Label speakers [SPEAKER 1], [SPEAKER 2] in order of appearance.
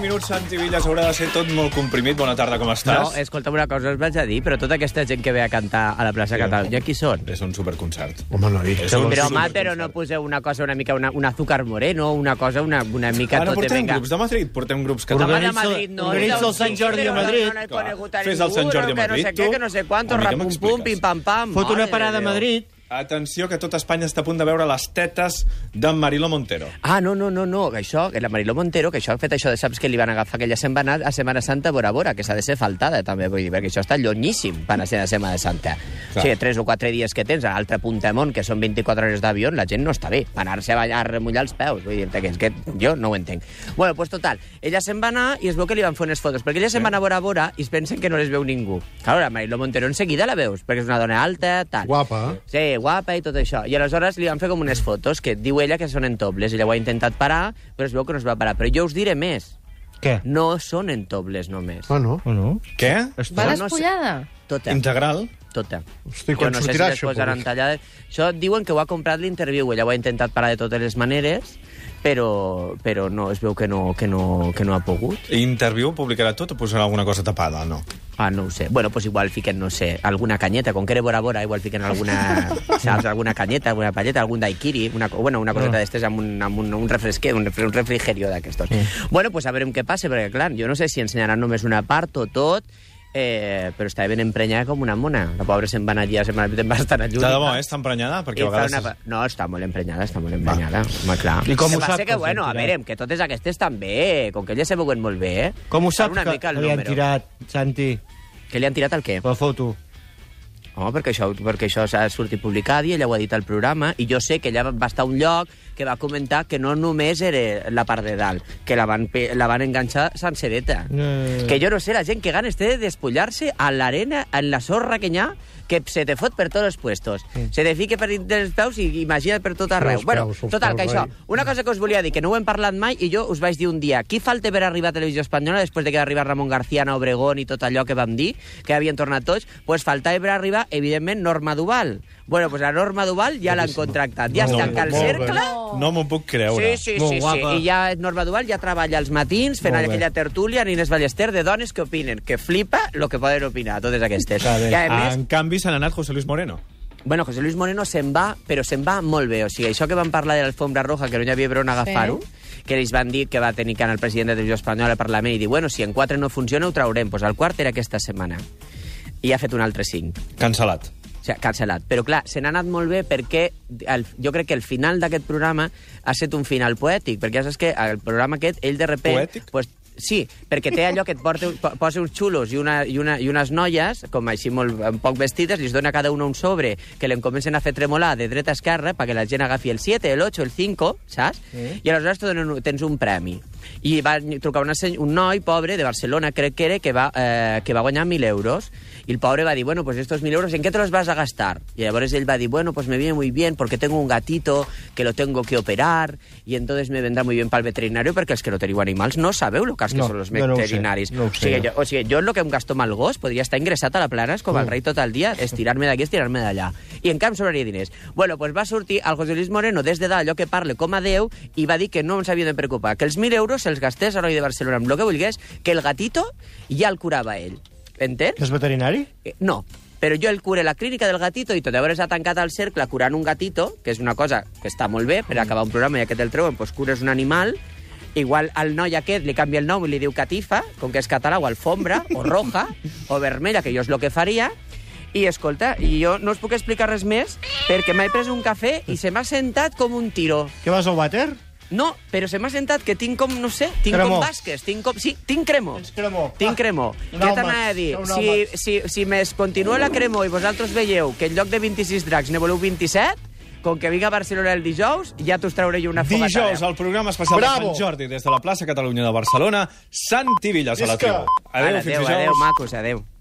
[SPEAKER 1] minuts, Santi Villas, haurà de ser tot molt comprimit. Bona tarda, com estàs?
[SPEAKER 2] No, escolta'm una cosa, us vaig a dir, però tota aquesta gent que ve a cantar a la plaça Catalunya, qui són?
[SPEAKER 1] És un superconcert.
[SPEAKER 3] Home, noi.
[SPEAKER 1] És un
[SPEAKER 2] Però,
[SPEAKER 1] superconcert.
[SPEAKER 2] home, però no poseu una cosa una mica, una, un azúcar moreno, una cosa, una, una mica
[SPEAKER 1] Ara
[SPEAKER 2] tot de
[SPEAKER 1] portem
[SPEAKER 2] venga.
[SPEAKER 1] grups de Madrid, portem grups
[SPEAKER 2] Home,
[SPEAKER 1] catalans.
[SPEAKER 2] de Madrid, no.
[SPEAKER 3] organitza
[SPEAKER 2] no,
[SPEAKER 3] el Sant Jordi
[SPEAKER 2] sí,
[SPEAKER 3] a
[SPEAKER 2] però
[SPEAKER 3] Madrid,
[SPEAKER 2] No, no he
[SPEAKER 1] clar.
[SPEAKER 2] conegut a
[SPEAKER 1] Fes
[SPEAKER 2] ningú,
[SPEAKER 1] el Sant Jordi a
[SPEAKER 2] que no sé
[SPEAKER 1] Madrid,
[SPEAKER 2] què,
[SPEAKER 1] tu.
[SPEAKER 2] que no sé quantos,
[SPEAKER 1] Una mica
[SPEAKER 2] rapum pum,
[SPEAKER 1] m'expliques.
[SPEAKER 2] pim pam pam.
[SPEAKER 3] Fot una
[SPEAKER 2] Mare
[SPEAKER 3] parada a
[SPEAKER 2] de Déu.
[SPEAKER 3] Madrid.
[SPEAKER 1] Atenció, que tot Espanya està a punt de veure les tetes de Marilo Montero.
[SPEAKER 2] Ah, no, no, no, no, que això, que la Mariló Montero, que això ha fet això de saps que li van agafar aquella setmana a Semana Santa a Bora Bora, que s'ha de ser faltada també, vull dir, perquè això està llunyíssim per anar a ser de Semana Santa.
[SPEAKER 1] Clar.
[SPEAKER 2] O sigui, tres o quatre dies que tens a l'altre punt de món, que són 24 hores d'avió, la gent no està bé, per anar-se a ballar, a remullar els peus, vull dir, que, és que jo no ho entenc. Bueno, doncs total, ella se'n va anar i es veu que li van fer unes fotos, perquè ella se'n va anar a Bora Bora i es pensen que no les veu ningú. Claro, la Mariló Montero en seguida la veus, perquè és una dona alta, tal.
[SPEAKER 3] Guapa. eh?
[SPEAKER 2] Sí, guapa i tot això. I aleshores li van fer com unes fotos que diu ella que són en tobles. Ella ho ha intentat parar, però es veu que no es va parar. Però jo us diré més.
[SPEAKER 4] Què?
[SPEAKER 2] No són en tobles només.
[SPEAKER 3] Ah,
[SPEAKER 1] Oh,
[SPEAKER 3] no?
[SPEAKER 4] O no?
[SPEAKER 1] Què?
[SPEAKER 5] Va
[SPEAKER 2] no sé.
[SPEAKER 5] despullada.
[SPEAKER 2] Tota,
[SPEAKER 1] Integral?
[SPEAKER 2] tota.
[SPEAKER 3] Hosti,
[SPEAKER 2] Jo
[SPEAKER 3] quan
[SPEAKER 2] no sé si
[SPEAKER 3] sortirà això?
[SPEAKER 2] després ara han
[SPEAKER 3] públic?
[SPEAKER 2] tallat... Això diuen que ho ha comprat l'interviu. Ella ho ha intentat parar de totes les maneres, però, però no, es veu que no, que no, que no ha pogut.
[SPEAKER 1] Interview publicarà tot o posarà alguna cosa tapada? No.
[SPEAKER 2] Ah, no ho sé. Bueno, pues igual fiquen, no sé, alguna canyeta. Com que era Bora Bora, igual fiquen alguna, saps, alguna canyeta, alguna palleta, algun daiquiri, una, co- bueno, una coseta
[SPEAKER 4] Ah.
[SPEAKER 2] d'estes amb, un, amb un, un refresquer, un, refre- un refrigerio d'aquestos. Bueno, pues a veure què passa, perquè, clar, jo no sé si ensenyaran només una part o tot, eh, però estava ben emprenyada com una mona. La pobra se'n va anar allà, se'n va, se'n va estar allà.
[SPEAKER 1] De debò, eh? Està emprenyada? Perquè a vegades...
[SPEAKER 2] Una... No, està molt emprenyada, està molt emprenyada. Home, clar.
[SPEAKER 4] I com
[SPEAKER 2] El
[SPEAKER 4] ho
[SPEAKER 2] que passa
[SPEAKER 4] sap
[SPEAKER 2] Que,
[SPEAKER 4] que els
[SPEAKER 2] bueno, a
[SPEAKER 4] han tirat?
[SPEAKER 2] veure, que totes aquestes també, com que elles se veuen molt bé, eh?
[SPEAKER 4] Com ho
[SPEAKER 2] Fan
[SPEAKER 4] saps
[SPEAKER 2] una
[SPEAKER 4] que
[SPEAKER 2] mica el
[SPEAKER 4] li han
[SPEAKER 2] número.
[SPEAKER 4] tirat, Santi?
[SPEAKER 2] Que li han tirat el què?
[SPEAKER 4] La foto.
[SPEAKER 2] Home, perquè això, perquè això s'ha sortit publicat i ella ho ha dit al programa, i jo sé que ella va estar a un lloc que va comentar que no només era la part de dalt, que la van, pe- la van enganxar sencereta.
[SPEAKER 4] Eh.
[SPEAKER 2] Que jo no sé, la gent que ganes té de despullar-se a l'arena, en la sorra que hi ha, que se te fot per tots els puestos. Se te fica per dintre els peus i imagina't per tot arreu.
[SPEAKER 3] peus,
[SPEAKER 2] bueno,
[SPEAKER 3] els
[SPEAKER 2] total, que
[SPEAKER 3] peus,
[SPEAKER 2] això,
[SPEAKER 3] ai.
[SPEAKER 2] una cosa que us volia dir, que no ho hem parlat mai, i jo us vaig dir un dia, qui falta per arribar a Televisió Espanyola després de que va arribar Ramon García, Ana Obregón i tot allò que vam dir, que havien tornat tots, doncs pues faltava per arribar, evidentment, Norma Duval. Bueno, doncs pues la Norma Duval ja l'han contractat. Ja es
[SPEAKER 1] Molt
[SPEAKER 2] tanca el
[SPEAKER 1] bé.
[SPEAKER 2] cercle...
[SPEAKER 1] No m'ho puc creure.
[SPEAKER 2] Sí, sí,
[SPEAKER 4] Molt
[SPEAKER 2] sí, sí.
[SPEAKER 4] guapa.
[SPEAKER 2] I ja és Norma Duval ja treballa als matins fent
[SPEAKER 4] Molt bé.
[SPEAKER 2] aquella tertúlia en Inés Ballester de dones que opinen, que flipa el que poden opinar, totes aquestes.
[SPEAKER 4] Està bé. Ah,
[SPEAKER 2] I a més,
[SPEAKER 1] En canvi, se n'ha anat José Luis Moreno.
[SPEAKER 2] Bueno, José Luis Moreno se'n va, però se'n va molt bé. O sigui, això que van parlar de l'alfombra roja, que no hi havia per on agafar-ho, que ells van dir que va tenir que anar el president de Televisió Espanyola al Parlament i dir, bueno, si en quatre no funciona, ho traurem. Doncs pues el quart era aquesta setmana. I ha fet un altre cinc.
[SPEAKER 1] Cancel·lat.
[SPEAKER 2] O sigui, cancel·lat. Però clar, se n'ha anat molt bé perquè el, jo crec que el final d'aquest programa ha estat un final poètic, perquè ja saps que el programa aquest, ell de repent...
[SPEAKER 1] Poètic?
[SPEAKER 2] Pues, sí, perquè té allò que et porta, po- posa uns xulos i, una, i, una, i unes noies, com així molt eh, poc vestides, li dona a cada una un sobre que li comencen a fer tremolar de dreta a esquerra perquè la gent agafi el 7, el 8, el 5, saps? I aleshores te donen, un- tens un premi. I va trucar una, seny- un noi pobre de Barcelona, crec que era, que va, eh, que va guanyar 1.000 euros. Y el pobre va a decir, bueno, pues estos mil euros, ¿en qué te los vas a gastar? Y llavors él va a decir, bueno, pues me viene muy bien porque tengo un gatito que lo tengo que operar y entonces me vendrá muy bien para el veterinario porque els que no teniu animals no sabeu lo cas que
[SPEAKER 4] No,
[SPEAKER 2] són els
[SPEAKER 4] jo no ho sé,
[SPEAKER 2] veterinaris.
[SPEAKER 4] no ho
[SPEAKER 2] o, sigui,
[SPEAKER 4] sé.
[SPEAKER 2] jo, o sigui, jo en lo que em gasto mal gos podria estar ingressat a la planes com el rei tot el dia, estirar-me d'aquí, estirar-me d'allà. I en camp sobraria diners. Bueno, pues va sortir el José Luis Moreno des de dalt allò que parle com a Déu i va dir que no ens havia de preocupar, que els 1.000 euros se'ls gastés a noi de Barcelona amb lo que volgués, que el gatito ja el curava ell. Entens?
[SPEAKER 4] Que és veterinari?
[SPEAKER 2] Eh, No, però jo el cure la clínica del gatito i tot llavors ha tancat el cercle curant un gatito, que és una cosa que està molt bé per acabar un programa i aquest el treuen, doncs cures un animal, igual al noi aquest li canvia el nom i li diu catifa, com que és català, o alfombra, o roja, o vermella, que jo és el que faria, i escolta, i jo no us puc explicar res més perquè m'he pres un cafè i se m'ha sentat com un tiro.
[SPEAKER 4] Que vas al vàter?
[SPEAKER 2] No, però se m'ha sentat que tinc com, no sé, tinc
[SPEAKER 4] Cremor.
[SPEAKER 2] com basques, tinc com... Sí, tinc cremor.
[SPEAKER 4] Tens cremor.
[SPEAKER 2] Tinc
[SPEAKER 4] Ah,
[SPEAKER 2] cremor.
[SPEAKER 4] un
[SPEAKER 2] Què
[SPEAKER 4] àumac,
[SPEAKER 2] t'anava a dir?
[SPEAKER 4] un
[SPEAKER 2] Si,
[SPEAKER 4] àumac.
[SPEAKER 2] si, si més continua la cremor i vosaltres veieu que en lloc de 26 dracs ne voleu 27, com que vinc a Barcelona el dijous, ja t'us trauré jo una fogata.
[SPEAKER 1] Dijous, al programa especial
[SPEAKER 3] Bravo!
[SPEAKER 1] de Sant Jordi, des de la plaça Catalunya de Barcelona, Santi Villas a la
[SPEAKER 3] Visca!
[SPEAKER 1] tribu. Adéu, fins
[SPEAKER 2] adéu,
[SPEAKER 1] dijous.
[SPEAKER 2] adéu, macos, adéu.